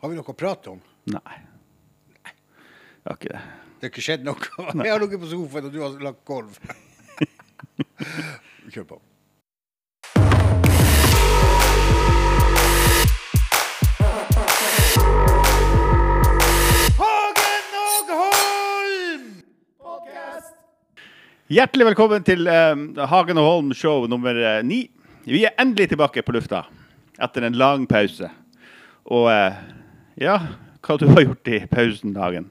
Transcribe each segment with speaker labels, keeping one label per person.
Speaker 1: Har vi noe å prate om?
Speaker 2: Nei. Jeg har ikke det.
Speaker 1: Det har ikke skjedd noe? Jeg har ligget på sofaen, og du har lagt gulv. Kjør på. Hagen og Holm!
Speaker 2: Hjertelig velkommen til eh, Hagen og Holm show nummer eh, ni. Vi er endelig tilbake på lufta etter en lang pause. Og eh, ja, hva du har gjort i pausen, Hagen?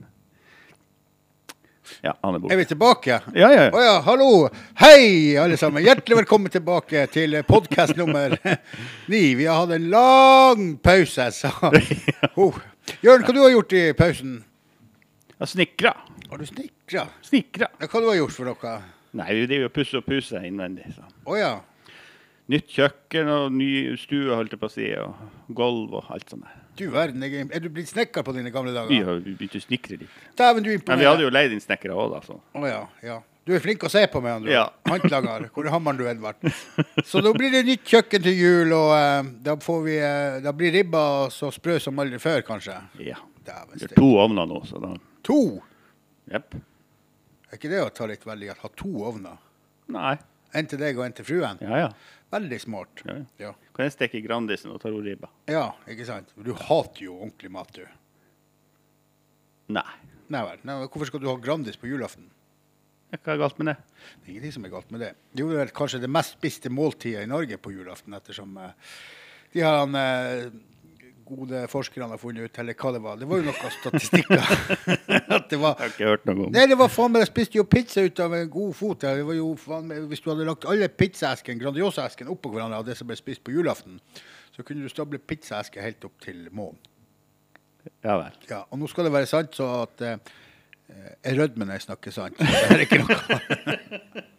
Speaker 2: Ja, Anne Bo.
Speaker 1: Er vi tilbake?
Speaker 2: Ja, ja.
Speaker 1: Å ja, hallo. Hei, alle sammen. Hjertelig velkommen tilbake til podkast nummer ni. Vi har hatt en lang pause, sa oh. Jørn, hva du har gjort i pausen?
Speaker 2: Ja, Snikra.
Speaker 1: Har du snikra?
Speaker 2: Snikra.
Speaker 1: Ja, hva du har gjort for noe?
Speaker 2: Nei, vi driver og pusser og puser innvendig. Så.
Speaker 1: Å ja.
Speaker 2: Nytt kjøkken og ny stue, holdt jeg på å si, og gulv og alt sånt der.
Speaker 1: Du verden, jeg er, er du blitt snekker på dine gamle
Speaker 2: Vi
Speaker 1: dager?
Speaker 2: har jo begynt å snekre litt.
Speaker 1: Dæven, du
Speaker 2: Men vi hadde
Speaker 1: imponerer.
Speaker 2: jo leid inn snekkere òg, da. Så.
Speaker 1: Å ja, ja. Du er flink å se på, med andre
Speaker 2: Ja.
Speaker 1: ord. Håndlager. Hvor er hammeren du enn ble. Så nå blir det nytt kjøkken til jul, og eh, da, får vi, eh, da blir ribba så sprø som aldri før, kanskje.
Speaker 2: Ja.
Speaker 1: Dæven
Speaker 2: Vi har
Speaker 1: steike.
Speaker 2: to ovner nå, så da
Speaker 1: To!
Speaker 2: Jepp.
Speaker 1: Er ikke det å ta litt veldig at ha to ovner?
Speaker 2: Nei.
Speaker 1: En til deg og en til fruen?
Speaker 2: Ja, ja.
Speaker 1: Veldig smart.
Speaker 2: Ja, ja.
Speaker 1: Ja.
Speaker 2: Kan jeg steke Grandisen og Taroribba?
Speaker 1: ja, ikke sant? Du hater jo ordentlig mat, du.
Speaker 2: Nei.
Speaker 1: Nei vel. Nei, hvorfor skal du ha Grandis på julaften?
Speaker 2: Hva er galt med det?
Speaker 1: Det er ingenting som er galt med det. Det er jo vel kanskje det mest spiste måltidet i Norge på julaften, ettersom eh, de her han, eh, gode forskerne har funnet ut, eller hva det var. Det var jo noe statistikker. At det var
Speaker 2: Jeg har ikke hørt noe om
Speaker 1: Nei, det var faen meg, jeg spiste jo pizza ut av en god fot. her. Det var jo faen meg, Hvis du hadde lagt alle pizzaesken, Grandiosa-esken oppå hverandre av det som ble spist på julaften, så kunne du stable pizzaesker helt opp til månen.
Speaker 2: Ja vel.
Speaker 1: Ja, og nå skal det være sant, så at eh, jeg rødmer når jeg snakker sant. så Det er ikke noe.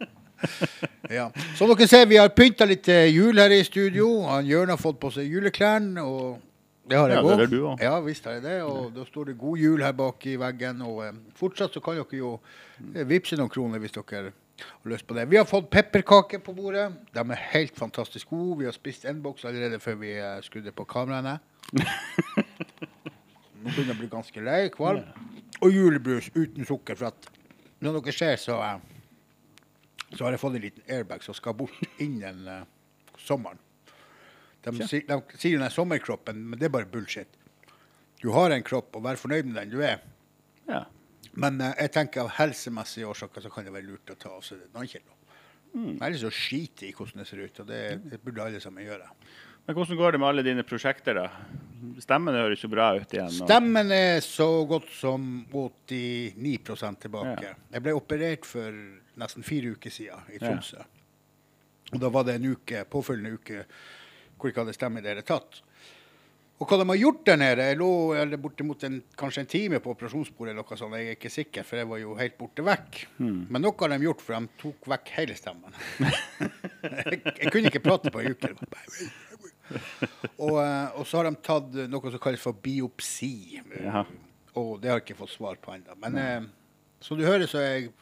Speaker 1: ja. Som dere ser, vi har pynta litt eh, jul her i studio. Han Jørn har fått på seg juleklærne. og det har jeg
Speaker 2: Ja, det
Speaker 1: også.
Speaker 2: er du også.
Speaker 1: Ja, visst har jeg det. Og da står det 'God jul' her bak i veggen. Og eh, fortsatt så kan dere jo eh, vippse noen kroner hvis dere har lyst på det. Vi har fått pepperkaker på bordet. De er helt fantastisk gode. Vi har spist en boks allerede før vi eh, skrudde på kameraene. Nå begynner jeg å bli ganske lei, kvalm. Og julebrus uten sukker. For at når dere ser, så, eh, så har jeg fått en liten airbag som skal bort innen eh, sommeren. De, si, de sier den er sommerkroppen, men det er bare bullshit. Du har en kropp, og vær fornøyd med den du er.
Speaker 2: Ja.
Speaker 1: Men eh, jeg tenker av helsemessige årsaker så kan det være lurt å ta av seg noen kilo. Ellers så skiter jeg i hvordan det ser ut, og det, det burde alle sammen gjøre.
Speaker 2: Men hvordan går det med alle dine prosjekter, da? Stemmen høres jo bra ut igjen. og-
Speaker 1: Stemmen er så godt som 89 tilbake.
Speaker 2: Ja.
Speaker 1: Jeg ble operert for nesten fire uker siden i Tromsø. Og da var det en uke, påfølgende uke hvor jeg ikke hadde stemme i det hele tatt. Og hva de har gjort der nede Jeg lå eller bortimot en, kanskje en time på operasjonsbordet, eller noe sånt, jeg er ikke sikker, for jeg var jo helt borte vekk.
Speaker 2: Hmm.
Speaker 1: Men noe har de gjort, for de tok vekk hele stemmen. jeg, jeg kunne ikke prate på en uke. Og, eh, og så har de tatt noe som kalles for biopsi.
Speaker 2: Jaha.
Speaker 1: Og det har jeg ikke fått svar på ennå. Men eh, som du hører, så er jeg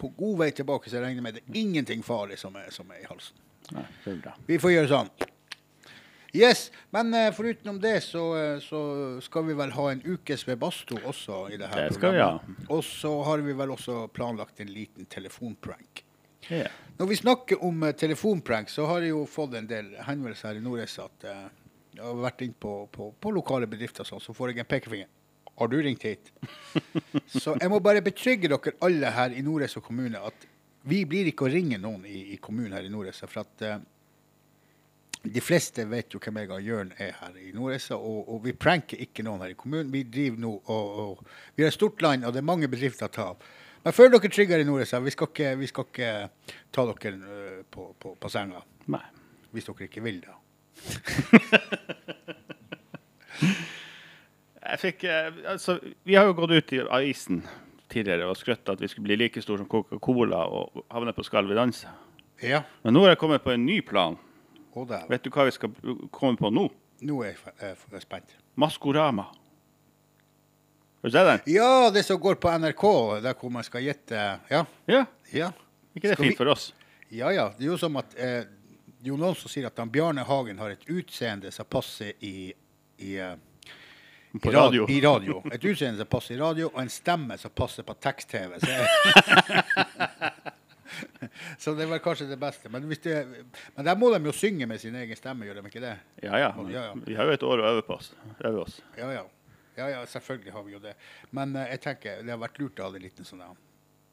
Speaker 1: på god vei tilbake, så jeg regner med det er ingenting farlig som er, som er i halsen.
Speaker 2: Nei, det er bra.
Speaker 1: Vi får gjøre sånn. Yes, Men eh, foruten om det, så, eh, så skal vi vel ha en ukes ved badstue også. i det her
Speaker 2: Det skal vi ha.
Speaker 1: programmet. Og så har vi vel også planlagt en liten telefonprank.
Speaker 2: Ja.
Speaker 1: Når vi snakker om eh, telefonprank, så har jeg jo fått en del henvendelser her i Nordreis at eh, jeg har vært inne på, på, på lokale bedrifter, og sånn, så får jeg en pekefinger. Har du ringt hit? Så jeg må bare betrygge dere alle her i Nordreis og kommune at vi blir ikke å ringe noen i, i kommunen her i Nordreisa. For at eh, de fleste vet jo hvem jeg og Jørn er her i Nordreisa, og, og vi pranker ikke noen her i kommunen. Vi driver nå og, og Vi har et stort land, og det er mange bedrifter å ta av. Men føl dere trygge her i Nordreisa. Vi, skal ikke- vi skal ikke ta dere eh, på, på, på senga
Speaker 2: Nei.
Speaker 1: hvis dere ikke vil det.
Speaker 2: Jeg fikk, eh, altså, vi har jo gått ut i avisen tidligere og skrøtt at vi skulle bli like store som Coca-Cola og havne på Skal vi danse.
Speaker 1: Ja.
Speaker 2: Men nå har jeg kommet på en ny plan.
Speaker 1: Å, dæven.
Speaker 2: Vet du hva vi skal komme på nå?
Speaker 1: Nå er jeg, fe- eh, f- spent.
Speaker 2: Maskorama. Har du sett den?
Speaker 1: Ja, det som går på NRK, der hvor man skal gjette Ja.
Speaker 2: Ja.
Speaker 1: ja.
Speaker 2: Ikke det
Speaker 1: Skal vi-
Speaker 2: fint for oss?
Speaker 1: Ja, ja. Det er jo som at eh, det er jo noen som sier at han Bjarne Hagen har et utseende som passer i, i, eh,
Speaker 2: På
Speaker 1: I ra-
Speaker 2: radio.
Speaker 1: I radio. Et utseende som passer i radio, og en stemme som passer på tekst-TV. Så, så det var kanskje det beste. Men, hvis det, men der må de jo synge med sin egen stemme, gjør de ikke det?
Speaker 2: Ja, ja. men
Speaker 1: Ja, ja.
Speaker 2: Vi har jo et år å øve på oss. Øve oss.
Speaker 1: Ja, ja. Ja, ja, selvfølgelig har vi jo det. Men eh, jeg tenker det har vært lurt å ha en liten sånn der,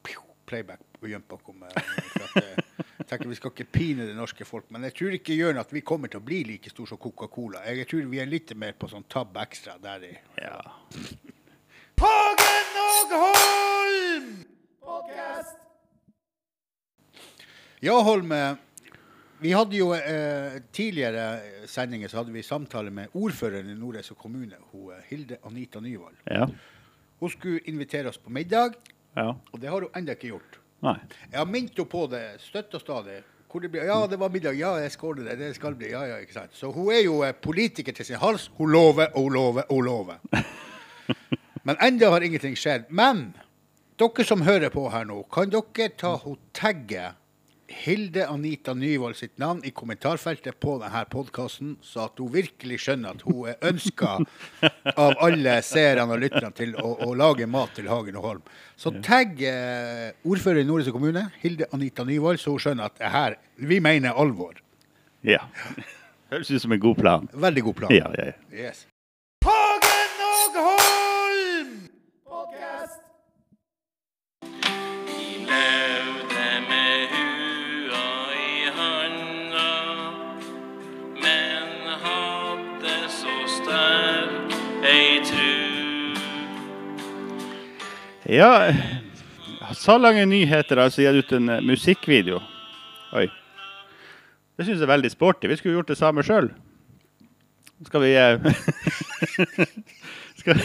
Speaker 1: pju, playback på Jømpa. kom, eh, for at, eh, Jeg tenker Vi skal ikke pine det norske folk, men jeg tror ikke Jørn, at vi kommer til å bli like stor som Coca-Cola. Jeg, jeg tror vi er litt mer på sånn tab ekstra der i
Speaker 2: Ja.
Speaker 1: Hagen og Holm! Ja, Holm. eh, Vi hadde jo eh, tidligere sendinger så hadde vi samtale med ordføreren i Nordreisa kommune, hun, eh, Hilde Anita Nyvold.
Speaker 2: Ja.
Speaker 1: Hun skulle invitere oss på middag,
Speaker 2: ja.
Speaker 1: og det har hun ennå ikke gjort.
Speaker 2: Nei.
Speaker 1: Jeg har minnet henne på det støtt og stadig. Hvor det blir, ja, det var middag. Ja, jeg skåler det. Det skal bli. Ja, ja, ikke sant. Så hun er jo eh, politiker til sin hals. Hun lover, og hun lover, og hun lover. Men ennå har ingenting skjedd. Men dere som hører på her nå, kan dere ta hun tagge Hilde Anita Nyvold sitt navn i kommentarfeltet på denne podkasten, så at hun virkelig skjønner at hun er ønska av alle seerne og lytterne til å, å lage mat til Hagen og Holm. Så tagg eh, ordfører i Nordreisa kommune, Hilde Anita Nyvold, så hun skjønner at det her, vi mener alvor.
Speaker 2: Ja. Høres ut som en god plan.
Speaker 1: Veldig god plan.
Speaker 2: Ja, ja, ja.
Speaker 1: Yes.
Speaker 3: levde med hua i handa, men hadde så sterk ei tru.
Speaker 2: Ja, Salange Nyheter har altså gitt ut en eh, musikkvideo. Oi. Det syns jeg er veldig sporty. Vi skulle gjort det samme sjøl. Skal vi eh, Skal,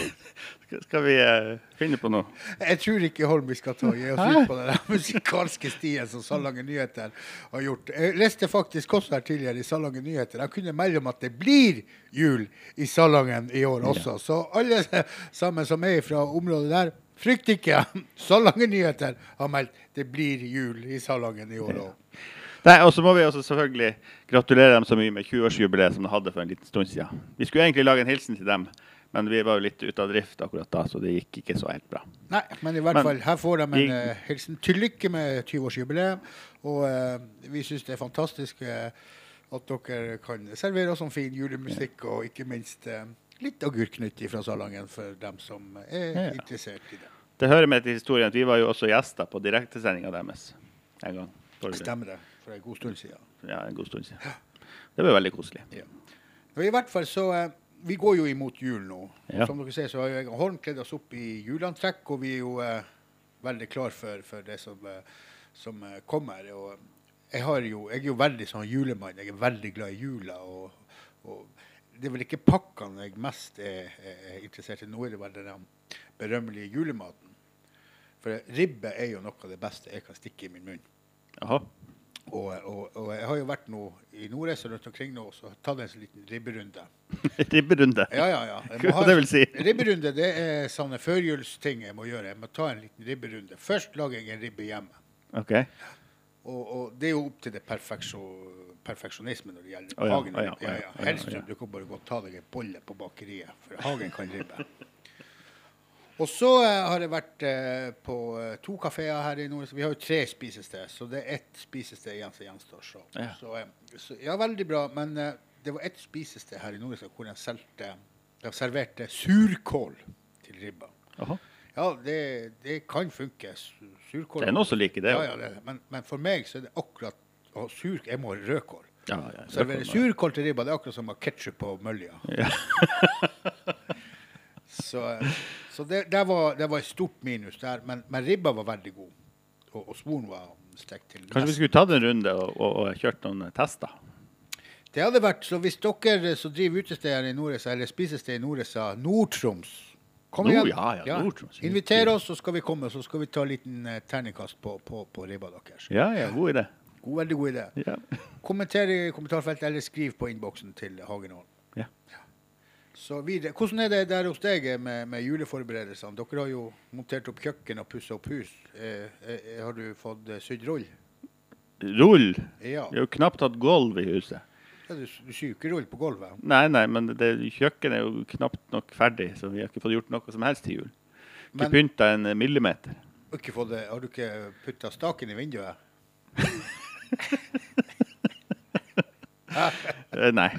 Speaker 2: skal- skal vi eh, finne på noe?
Speaker 1: Jeg tror ikke Holm vi skal ta og gi oss ut på den der musikalske stien som Salangen Nyheter har gjort. Jeg leste faktisk også her tidligere i Salangen Nyheter. Jeg kunne melde om at det blir jul i Salangen i år også. Så alle sammen som er fra området der, frykt ikke. Salangen Nyheter har meldt det blir jul i Salangen i år òg.
Speaker 2: Nei, Og så må vi også selvfølgelig gratulere dem så mye med 20-årsjubileet som de hadde for en liten stund siden. Vi skulle egentlig lage en hilsen til dem, men vi var jo litt ute av drift akkurat da, så det gikk ikke så helt bra.
Speaker 1: Nei, men i hvert
Speaker 2: Men-
Speaker 1: fall, her får de en
Speaker 2: Vi-
Speaker 1: eh, hilsen. Til lykke med 20-årsjubileet. Og eh, vi syns det er fantastisk eh, at dere kan servere oss sånn fin julemusikk, og ikke minst eh, litt agurknytt fra Salangen for dem som er
Speaker 2: Ja.
Speaker 1: interessert i det.
Speaker 2: Det hører med til historien at vi var jo også gjester på direktesendinga deres en gang. Torgeir.
Speaker 1: Stemmer det? For en god stund siden.
Speaker 2: Ja, en god stund siden. Det var veldig koselig.
Speaker 1: Ja. Men I hvert fall så eh, Vi går jo imot jul nå. Og
Speaker 2: Ja.
Speaker 1: Som dere ser, så har jo jeg og Holm kledd oss opp i juleantrekk, og vi er jo eh, veldig klar for, for det som, eh, som eh, kommer. Og jeg, har jo, jeg er jo veldig sånn julemann. Jeg er veldig glad i jula. Og, og det er vel ikke pakkene jeg mest er, er, er interessert i. Nå er det vel den der berømmelige julematen. For eh, ribbe er jo noe av det beste jeg kan stikke i min munn.
Speaker 2: Jaha.
Speaker 1: Og, og, og jeg har jo vært nå i Nordreisa rundt omkring nå og så tatt en sånn liten ribberunde.
Speaker 2: Ribberunde.
Speaker 1: Ja, ja, ja. Jeg må
Speaker 2: Hva
Speaker 1: ha-
Speaker 2: det vil si?
Speaker 1: Ribberunde det er sånne førjulsting jeg må gjøre. Jeg må ta en liten ribberunde. Først lager jeg en ribbe hjemme.
Speaker 2: OK.
Speaker 1: Og, og det er jo opp til det perfeksjo, perfeksjonisme når det gjelder
Speaker 2: Å ja,
Speaker 1: hagen.
Speaker 2: å ja, å
Speaker 1: ja,
Speaker 2: ja, å ja,
Speaker 1: ja. Helst
Speaker 2: å ja.
Speaker 1: du kan bare gå og ta deg en bolle på bakeriet, for hagen kan ribbe. Og så eh, har jeg vært eh, på eh, to kafeer her i nord. så Vi har jo tre spisested, så det er ett spisested igjen som gjenstår. Så.
Speaker 2: Ja.
Speaker 1: Så, eh, så ja, veldig bra. Men eh, det var ett spisested her i nord hvor de solgte De serverte surkål til ribba.
Speaker 2: Jaha.
Speaker 1: Ja, det, det kan funke. Su- Surkål
Speaker 2: Det er noen som liker det.
Speaker 1: ja,
Speaker 2: jo.
Speaker 1: ja, det er det. Men, men for meg så er det akkurat å ha sur, Jeg må ha rødkål.
Speaker 2: Ja, ja,
Speaker 1: Servere
Speaker 2: rødkål, ja.
Speaker 1: surkål til ribba, det er akkurat som å ha ketsjup på mølja. så så det, det, var, det var et stort minus der, men, men ribba var veldig god. Og, og svoren var stekt til.
Speaker 2: Kanskje vi skulle tatt en runde og, og, og kjørt noen tester?
Speaker 1: Det hadde vært, så Hvis dere som driver utesteder i Nordreisa, eller spisested i Nordreisa, Nord-Troms Kom
Speaker 2: Nå,
Speaker 1: igjen.
Speaker 2: ja, ja, Nord-Troms.
Speaker 1: Inviter oss, så skal vi komme. Så skal vi ta en liten eh, terningkast på, på, på ribba deres.
Speaker 2: Ja, ja, god idé.
Speaker 1: God, veldig god idé.
Speaker 2: Ja.
Speaker 1: Kommenter i kommentarfeltet, eller skriv på innboksen til Hagen Holm.
Speaker 2: Ja.
Speaker 1: Så videre. Hvordan er det der hos deg med, med juleforberedelsene? Dere har jo montert opp kjøkken og pussa opp hus. Eh, eh, har du fått eh, sydd roll?
Speaker 2: Rull.
Speaker 1: Ja.
Speaker 2: Vi har jo knapt hatt gulv i huset.
Speaker 1: Ja, du, du sykerull på gulvet.
Speaker 2: Nei, nei, men det, kjøkkenet er jo knapt nok ferdig, så vi har ikke fått gjort noe som helst til jul. Ikke
Speaker 1: Men-
Speaker 2: pynta en millimeter.
Speaker 1: Og Ikke fått det. Har du ikke putta staken i vinduet?
Speaker 2: Eh, Nei.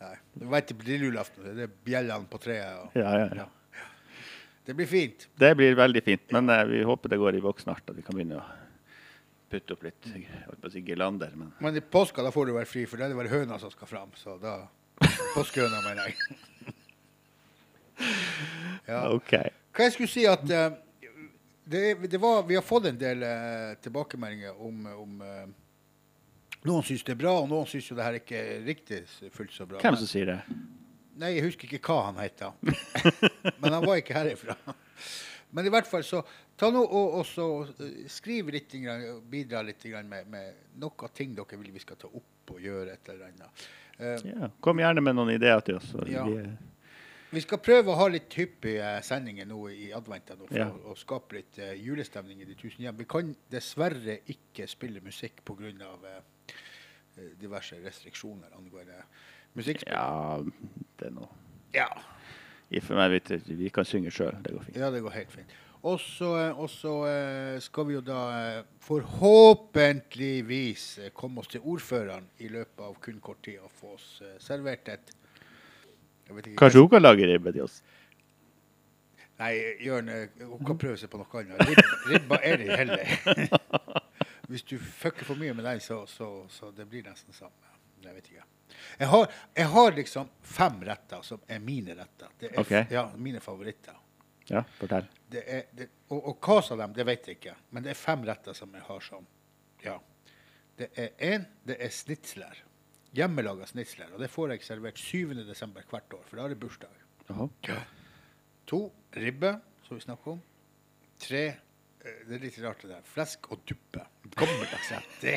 Speaker 1: Nei. Du vet det blir julaften. Det er bjellene på treet. Og.
Speaker 2: Ja, ja, ja.
Speaker 1: Det blir fint.
Speaker 2: Det blir veldig fint, men eh, vi håper det går i voksen snart, at vi kan begynne å putte opp litt jeg holdt på å si girlander. Men
Speaker 1: Men i påska da får du være fri, for da er det bare høna som skal fram. Så da Påskehøna, mener jeg. Ja.
Speaker 2: OK.
Speaker 1: Hva jeg skulle si at eh, det, det var, Vi har fått en del eh, tilbakemeldinger om, om eh, Noen syns det er bra, og noen syns jo det her ikke er riktig s- fullt så bra.
Speaker 2: Hvem som sier det?
Speaker 1: Nei, jeg husker ikke hva han het, da. Men han var ikke herifra. Men i hvert fall, så ta nå og, og så eh, skriv litt, grann, og bidra litt grann med, med noen ting dere vil vi skal ta opp og gjøre et eller annet. Eh,
Speaker 2: Ja. Kom gjerne med noen ideer til oss. så
Speaker 1: Ja.
Speaker 2: Vi,
Speaker 1: vi skal prøve å ha litt hyppige sendinger nå i adventa nå, for
Speaker 2: Ja.
Speaker 1: å, å skape litt eh, julestemning i de tusen hjem. Vi kan dessverre ikke spille musikk pga. Uh, diverse restriksjoner angående musikkspill.
Speaker 2: ja, det er noe.
Speaker 1: Ja.
Speaker 2: Gi for meg vite, vi kan synge sjøl. Det går fint.
Speaker 1: Ja, det går helt fint. Og så og så, eh, skal vi jo da eh, forhåpentligvis eh, komme oss til ordføreren i løpet av kun kort tid og få oss eh, servert et jeg vet ikke,
Speaker 2: Kanskje hun kan lage ribbe til oss?
Speaker 1: Nei, Jørn, eh, hun kan prøve seg på noe annet. Rib, ribba er det heller. Hvis du fucker for mye med deg, så, så, så det blir nesten samme. Jeg vet ikke. Jeg har, jeg har liksom fem retter som er mine retter. Det er,
Speaker 2: Ok.
Speaker 1: Ja, mine favoritter.
Speaker 2: Ja, fortell.
Speaker 1: det er, det, og, og hva av dem, det vet jeg ikke. Men det er fem retter som jeg har som Ja. Det er én, det er snitsler. Hjemmelaga snitsler. Og det får jeg servert 7. desember hvert år, for da er det bursdag.
Speaker 2: Jaha.
Speaker 1: To, ribbe, som vi snakker om. Tre, eh, det er litt rart det der, flesk og duppe. Gammeldags rett. Det,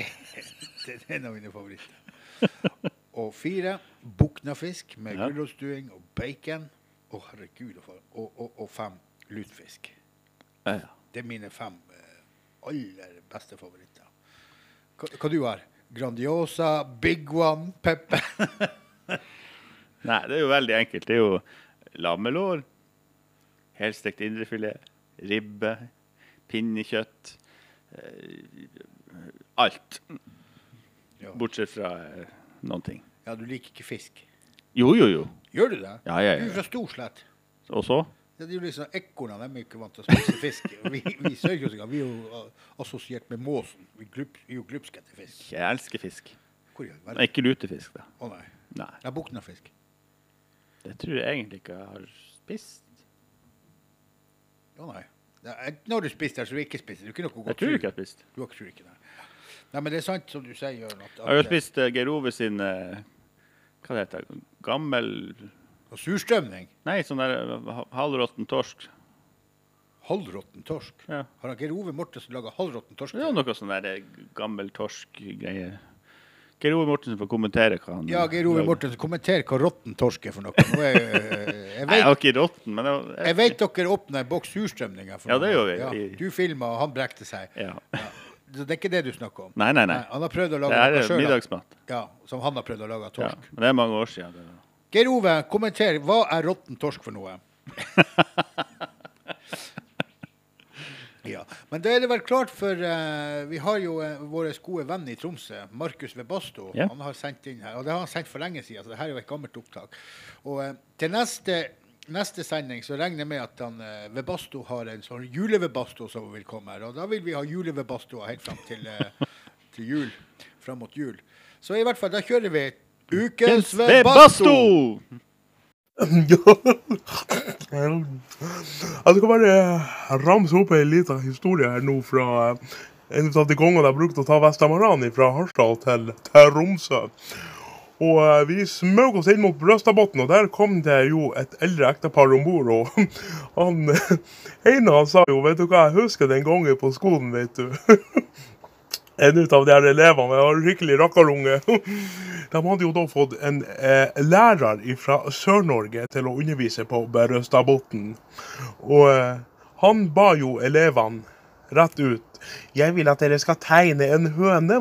Speaker 1: det er en av mine favoritter. Og fire, buknafisk med
Speaker 2: Ja.
Speaker 1: gulrotstuing og bacon. Å, herregud. og for- Og, og, og fem, lutfisk.
Speaker 2: Ja, ja.
Speaker 1: Det er mine fem eh, aller beste favoritter. Hva, hva du har? Grandiosa, Big One, Pepper.
Speaker 2: Nei, det er jo veldig enkelt. Det er jo lammelår, helstekt indrefilet, ribbe, pinnekjøtt. eh, Alt.
Speaker 1: Ja.
Speaker 2: Bortsett fra eh, noen ting.
Speaker 1: Ja, du liker ikke fisk.
Speaker 2: Jo, jo, jo.
Speaker 1: Gjør du det?
Speaker 2: Ja, ja, ja.
Speaker 1: Du er fra Storslett.
Speaker 2: Og så?
Speaker 1: Det er jo liksom Ekornene de er jo ikke vant til å spise fisk. Vi, vi sørgjøsinger vi er jo eh, assosiert med måsen. Vi glup, er jo glupske etter fisk.
Speaker 2: Jeg elsker fisk.
Speaker 1: Hvor i all
Speaker 2: Men
Speaker 1: verden?
Speaker 2: ikke lutefisk, da.
Speaker 1: Å nei.
Speaker 2: Nei.
Speaker 1: Jeg bukna fisk.
Speaker 2: Det tror jeg egentlig ikke jeg har spist.
Speaker 1: Å nei. Ja, eh, Når du spiser det, så vil du ikke spise det. Du er ikke noe
Speaker 2: Jeg
Speaker 1: godt
Speaker 2: tror ikke jeg har spist.
Speaker 1: Du har ikke tror ikke det. Nei, men det er sant som du sier, Jørn. At,
Speaker 2: Jeg har
Speaker 1: at,
Speaker 2: jo spist eh, Geir Ove sin eh, Hva det heter det? Gammel
Speaker 1: eh, surstrømning.
Speaker 2: Nei, sånn der eh, ha- halvråtten torsk.
Speaker 1: Halvråtten torsk.
Speaker 2: Ja.
Speaker 1: Har han Geir Ove Mortensen laga halvråtten torsk?
Speaker 2: Det er jo noe sånn der eh, gammel torsk-greie. Geir Ove Mortensen får kommentere hva han
Speaker 1: Ja, Geir Ove
Speaker 2: lager.
Speaker 1: Mortensen, kommenter hva råtten torsk er for noe. Nå er, eh, jeg
Speaker 2: Nei, jeg
Speaker 1: vet,
Speaker 2: har ikke rotten, men det var,
Speaker 1: jeg vet dere åpna en boks surstrømninger. for
Speaker 2: Ja,
Speaker 1: noen
Speaker 2: det gjorde
Speaker 1: år.
Speaker 2: vi.
Speaker 1: Ja, du filma, og han brekte seg.
Speaker 2: Ja.
Speaker 1: Ja. Så det er ikke det du snakker om?
Speaker 2: Nei, nei, nei.
Speaker 1: han har prøvd å
Speaker 2: Det
Speaker 1: lage
Speaker 2: her
Speaker 1: noe
Speaker 2: er
Speaker 1: sjøl.
Speaker 2: middagsmat.
Speaker 1: Ja, som han har prøvd å lage av
Speaker 2: Ja.
Speaker 1: torsk.
Speaker 2: Men det er mange år siden. Det var.
Speaker 1: Geir Ove, kommenter. Hva er råtten torsk for noe? ja. Men da er det vel klart, for eh, vi har jo uh, vår gode venn i Tromsø, Markus Webasto.
Speaker 2: Ja.
Speaker 1: Han har sendt inn her, og det har han sendt for lenge siden, så det her er jo et gammelt opptak. Og eh, til neste, neste sending så regner jeg med at han, eh, Webasto har en sånn julevebasto som vil komme her, og da vil vi ha julevebastoer helt fram til, eh, til jul. Fram mot jul. Så i hvert fall, da kjører vi Ukens Webasto!
Speaker 2: Webasto!
Speaker 4: Jeg skal bare eh, ramse opp ei lita historie her nå fra eh, en av de gangene jeg brukte å ta Vestamaran fra Harstad til Tromsø. Og eh, vi smøg oss inn mot Brøstadbotn, og der kom det jo et eldre ektepar om bord. Og han eh, ene han sa jo 'Vet du hva, jeg husker den gangen på skolen, vet du'. En ut av de her elevene jeg var skikkelig rakkarunge. De hadde jo da fått en eh, lærer fra Sør-Norge til å undervise på Brøstadbotn. Og eh, han ba jo elevene rett ut. Jeg vil at dere skal tegne en høne.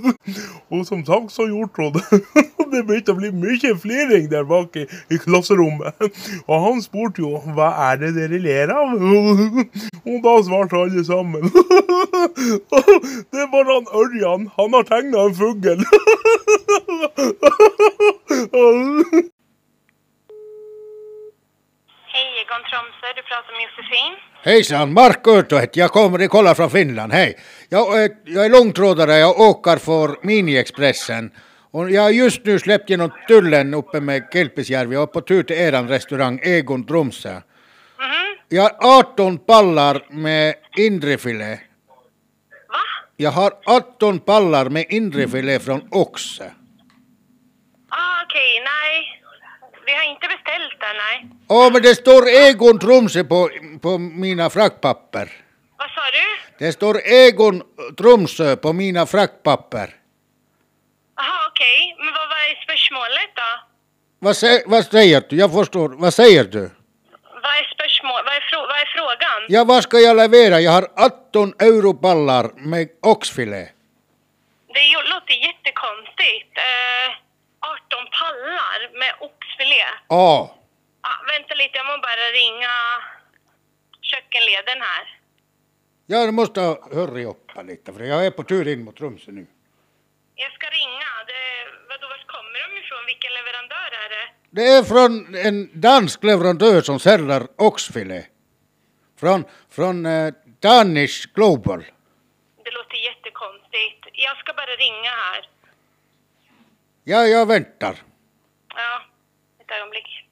Speaker 4: Og som sagt så gjorde hun det. Og Det begynte å bli mye fliring der bak i, i klasserommet. Og han spurte jo hva er det dere ler av? Og da svarte alle sammen. Det er bare han Ørjan. Han har tegna en fugl. 아, 음.
Speaker 5: Hej, Egon Tromsö. Du pratar med Josefin.
Speaker 1: Hejsan, Mark Örto heter jag, kommer i kolla från Finland, hej. Jag, är- jag är långtrådare, jag åker för Miniexpressen. Och jag har just nu släppt genom tullen uppe med Kilpisjärvi och är på tur till eran restaurang Egon Tromsö. Jag har 18 pallar med indrefilé.
Speaker 5: Va?
Speaker 1: Jag har 18 pallar med indrefilé från oxe.
Speaker 5: Ah, okej. Nej. Vi har inte beställt den, nej.
Speaker 1: Åh, men det står Egon Tromsö på, på mina fraktpapper.
Speaker 5: Vad sa du?
Speaker 1: Det står Egon Tromsö på mina fraktpapper.
Speaker 5: Jaha, okej. Men vad var spörsmålet då?
Speaker 1: Vad, sä- vad säger du? Jag förstår. Vad säger du?
Speaker 5: Vad är spörsmål? Vad är, frå- vad är frågan?
Speaker 1: Ja, vad ska jag leverera? Jag har 18 europallar med oxfilé.
Speaker 5: Det ju- låter jättekonstigt. Eh, 18 pallar med oxfilé.
Speaker 1: Ja.
Speaker 5: Ah, vänta lite, jag må bara ringa kökkenleden här.
Speaker 1: Jag måste hurry upp lite för jag är på tur in mot Tromsö nu.
Speaker 5: Jag ska ringa. Det, vadå, vart kommer de ifrån? Vilken leverandör är det?
Speaker 1: Det är från en dansk leverantör som säljer oxfilé. Från, från eh, Danish Global.
Speaker 5: Det låter jättekonstigt. Jag ska bara ringa här.
Speaker 1: Ja, jag väntar.
Speaker 5: Ja, ett ögonblick.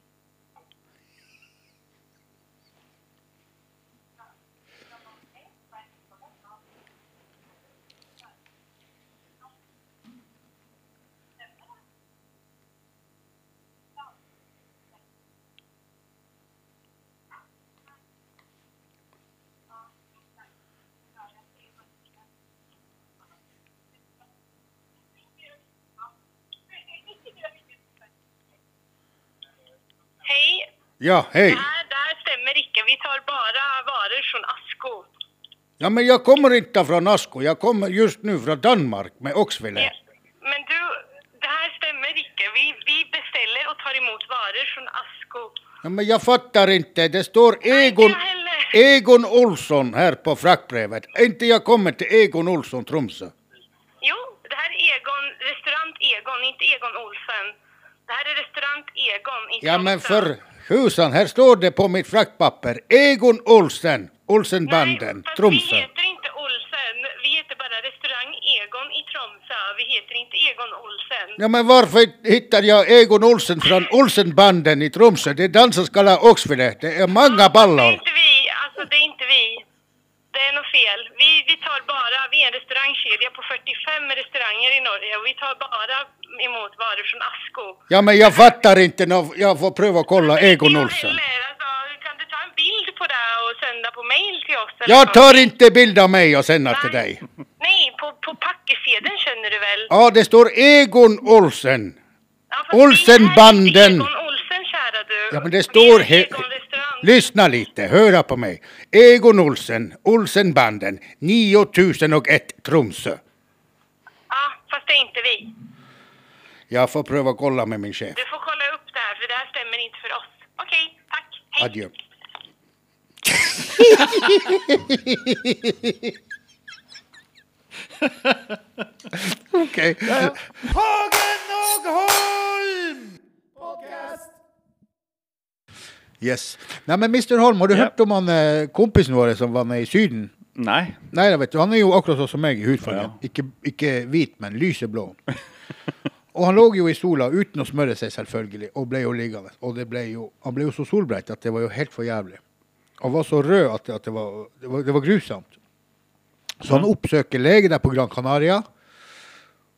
Speaker 5: Hej,
Speaker 1: Ja, hej.
Speaker 5: Nej, där stämmer icke. Vi tar bara varor från Asko.
Speaker 1: Ja, men jag kommer inte från Asko. Jag kommer just nu från Danmark med oxfilé.
Speaker 5: Men du, det här stämmer icke. Vi, vi beställer och tar emot varor från Asko.
Speaker 1: Ja, men jag fattar inte. Det står
Speaker 5: Nej,
Speaker 1: Egon,
Speaker 5: inte jag heller.
Speaker 1: Egon Olsson här på fraktbrevet. Inte jag kommer till Egon Olsson, Tromsö.
Speaker 5: Jo, det här är Egon, restaurant Egon, inte Egon Olsen. Det här är restaurant Egon, inte
Speaker 1: Ja, men
Speaker 5: Olsen.
Speaker 1: för husan, här står det på mitt fraktpapper. Egon Olsen,
Speaker 5: Nej,
Speaker 1: Olsenbanden,
Speaker 5: fast
Speaker 1: Tromsö.
Speaker 5: vi heter inte Olsen. Vi heter bara restaurang Egon i Tromsö. Vi heter inte Egon Olsen.
Speaker 1: Ja, men varför hittar jag Egon Olsen från Olsenbanden i Tromsö? Det är dansarskalla Oxfilé. Det är många
Speaker 5: Det
Speaker 1: ballor.
Speaker 5: är inte vi. Alltså, det är inte vi. Det är nog fel. Vi, vi tar bara, vi är en restaurangkedja på 45 restauranger i Norge och vi tar bara emot varor från Asko.
Speaker 1: Ja, men jag fattar inte. Nå- Jag får pröva och kolla Egon
Speaker 5: Jag
Speaker 1: Olsen.
Speaker 5: Heller, alltså, kan du ta en bild på det och sända på mail till oss? eller
Speaker 1: Jag
Speaker 5: något?
Speaker 1: tar inte bild av mig och sänder till
Speaker 5: Nej.
Speaker 1: dig.
Speaker 5: Nej, på, på packesedeln känner du väl?
Speaker 1: Ja, det står Egon Olsen.
Speaker 5: Ja, fast vi
Speaker 1: Olsenbanden.
Speaker 5: är inte Egon Olsen, kära du.
Speaker 1: Ja, men det står
Speaker 5: Vi är
Speaker 1: he-
Speaker 5: Egon restaurang.
Speaker 1: Lyssna lite, höra på mig. Egon Olsen, Olsenbanden, 9001 Tromsö.
Speaker 5: Ja, fast det är inte vi.
Speaker 1: Jag får pröva och kolla med min chef.
Speaker 5: Du får kolla upp det här, för det här stämmer inte för oss. Okej, tack. Hej.
Speaker 1: Adjö. Okej. Yes. Nej men Mr Holm, har du
Speaker 2: Ja.
Speaker 1: hørt om han eh, kompisen vår som var med i Syden?
Speaker 2: Nei.
Speaker 1: Nei, da vet du, han er jo akkurat sånn som meg i hudfargen.
Speaker 2: Ja.
Speaker 1: Ikke, ikke hvit, men lyseblå. Og han lå jo i sola uten å smøre seg, selvfølgelig, og ble jo liggende. Og det ble jo, han ble jo så solbrent at det var jo helt for jævlig. Han var så rød at det, at det, var, det, var, det var grusomt. Så han oppsøker lege der på Gran Canaria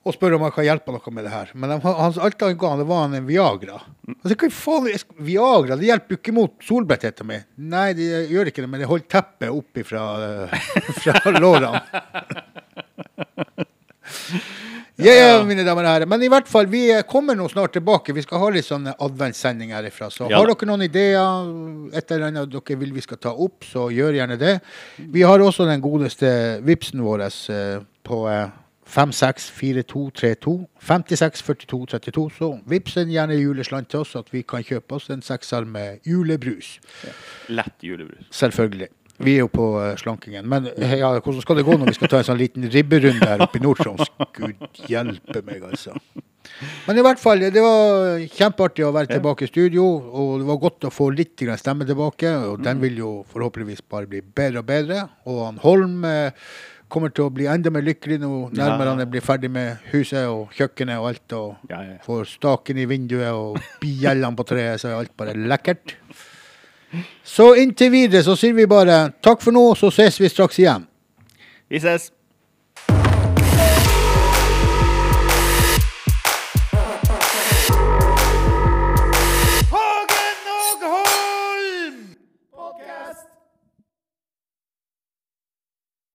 Speaker 1: og spør om han kan hjelpe noe med det her. Men han, hans, alt han ga, det var han en Viagra. Altså, hva faen, jeg sk- Viagra det hjelper jo ikke mot solbrentheten min. Nei, det gjør ikke det, men det holder teppet oppi fra, eh, fra lårene. Ja, ja, mine damer og herrer. Men i hvert fall, vi eh, kommer nå snart tilbake. Vi skal ha litt sånn adventssending herifra. Så
Speaker 2: Ja.
Speaker 1: har dere noen ideer, et eller annet dere vil vi skal ta opp, så gjør gjerne det. Vi har også den godeste vipsen vår eh, på eh, 564232. 564232. Så vips en gjerne juleslant til oss, så at vi kan kjøpe oss en sekser med julebrus.
Speaker 2: Lett julebrus.
Speaker 1: Selvfølgelig. Vi er jo på eh, slankingen. Men eh, ja, hvordan skal det gå når vi skal ta en sånn liten ribberunde her oppe i Nord-Troms? Gud hjelpe meg, altså. Men i hvert fall, det var kjempeartig å være tilbake i studio. Og det var godt å få litt grann stemme tilbake. Og
Speaker 2: Mm.
Speaker 1: den vil jo forhåpentligvis bare bli bedre og bedre. Og han Holm eh, kommer til å bli enda mer lykkelig nå nærmere
Speaker 2: Ja.
Speaker 1: han blir ferdig med huset og kjøkkenet og alt. Og
Speaker 2: Ja,
Speaker 1: eh,
Speaker 2: ja.
Speaker 1: får staken i vinduet og bjellene på treet, så er alt bare lekkert. Så inntil videre så sier vi bare takk for nå, så ses vi straks igjen.
Speaker 2: Vi ses.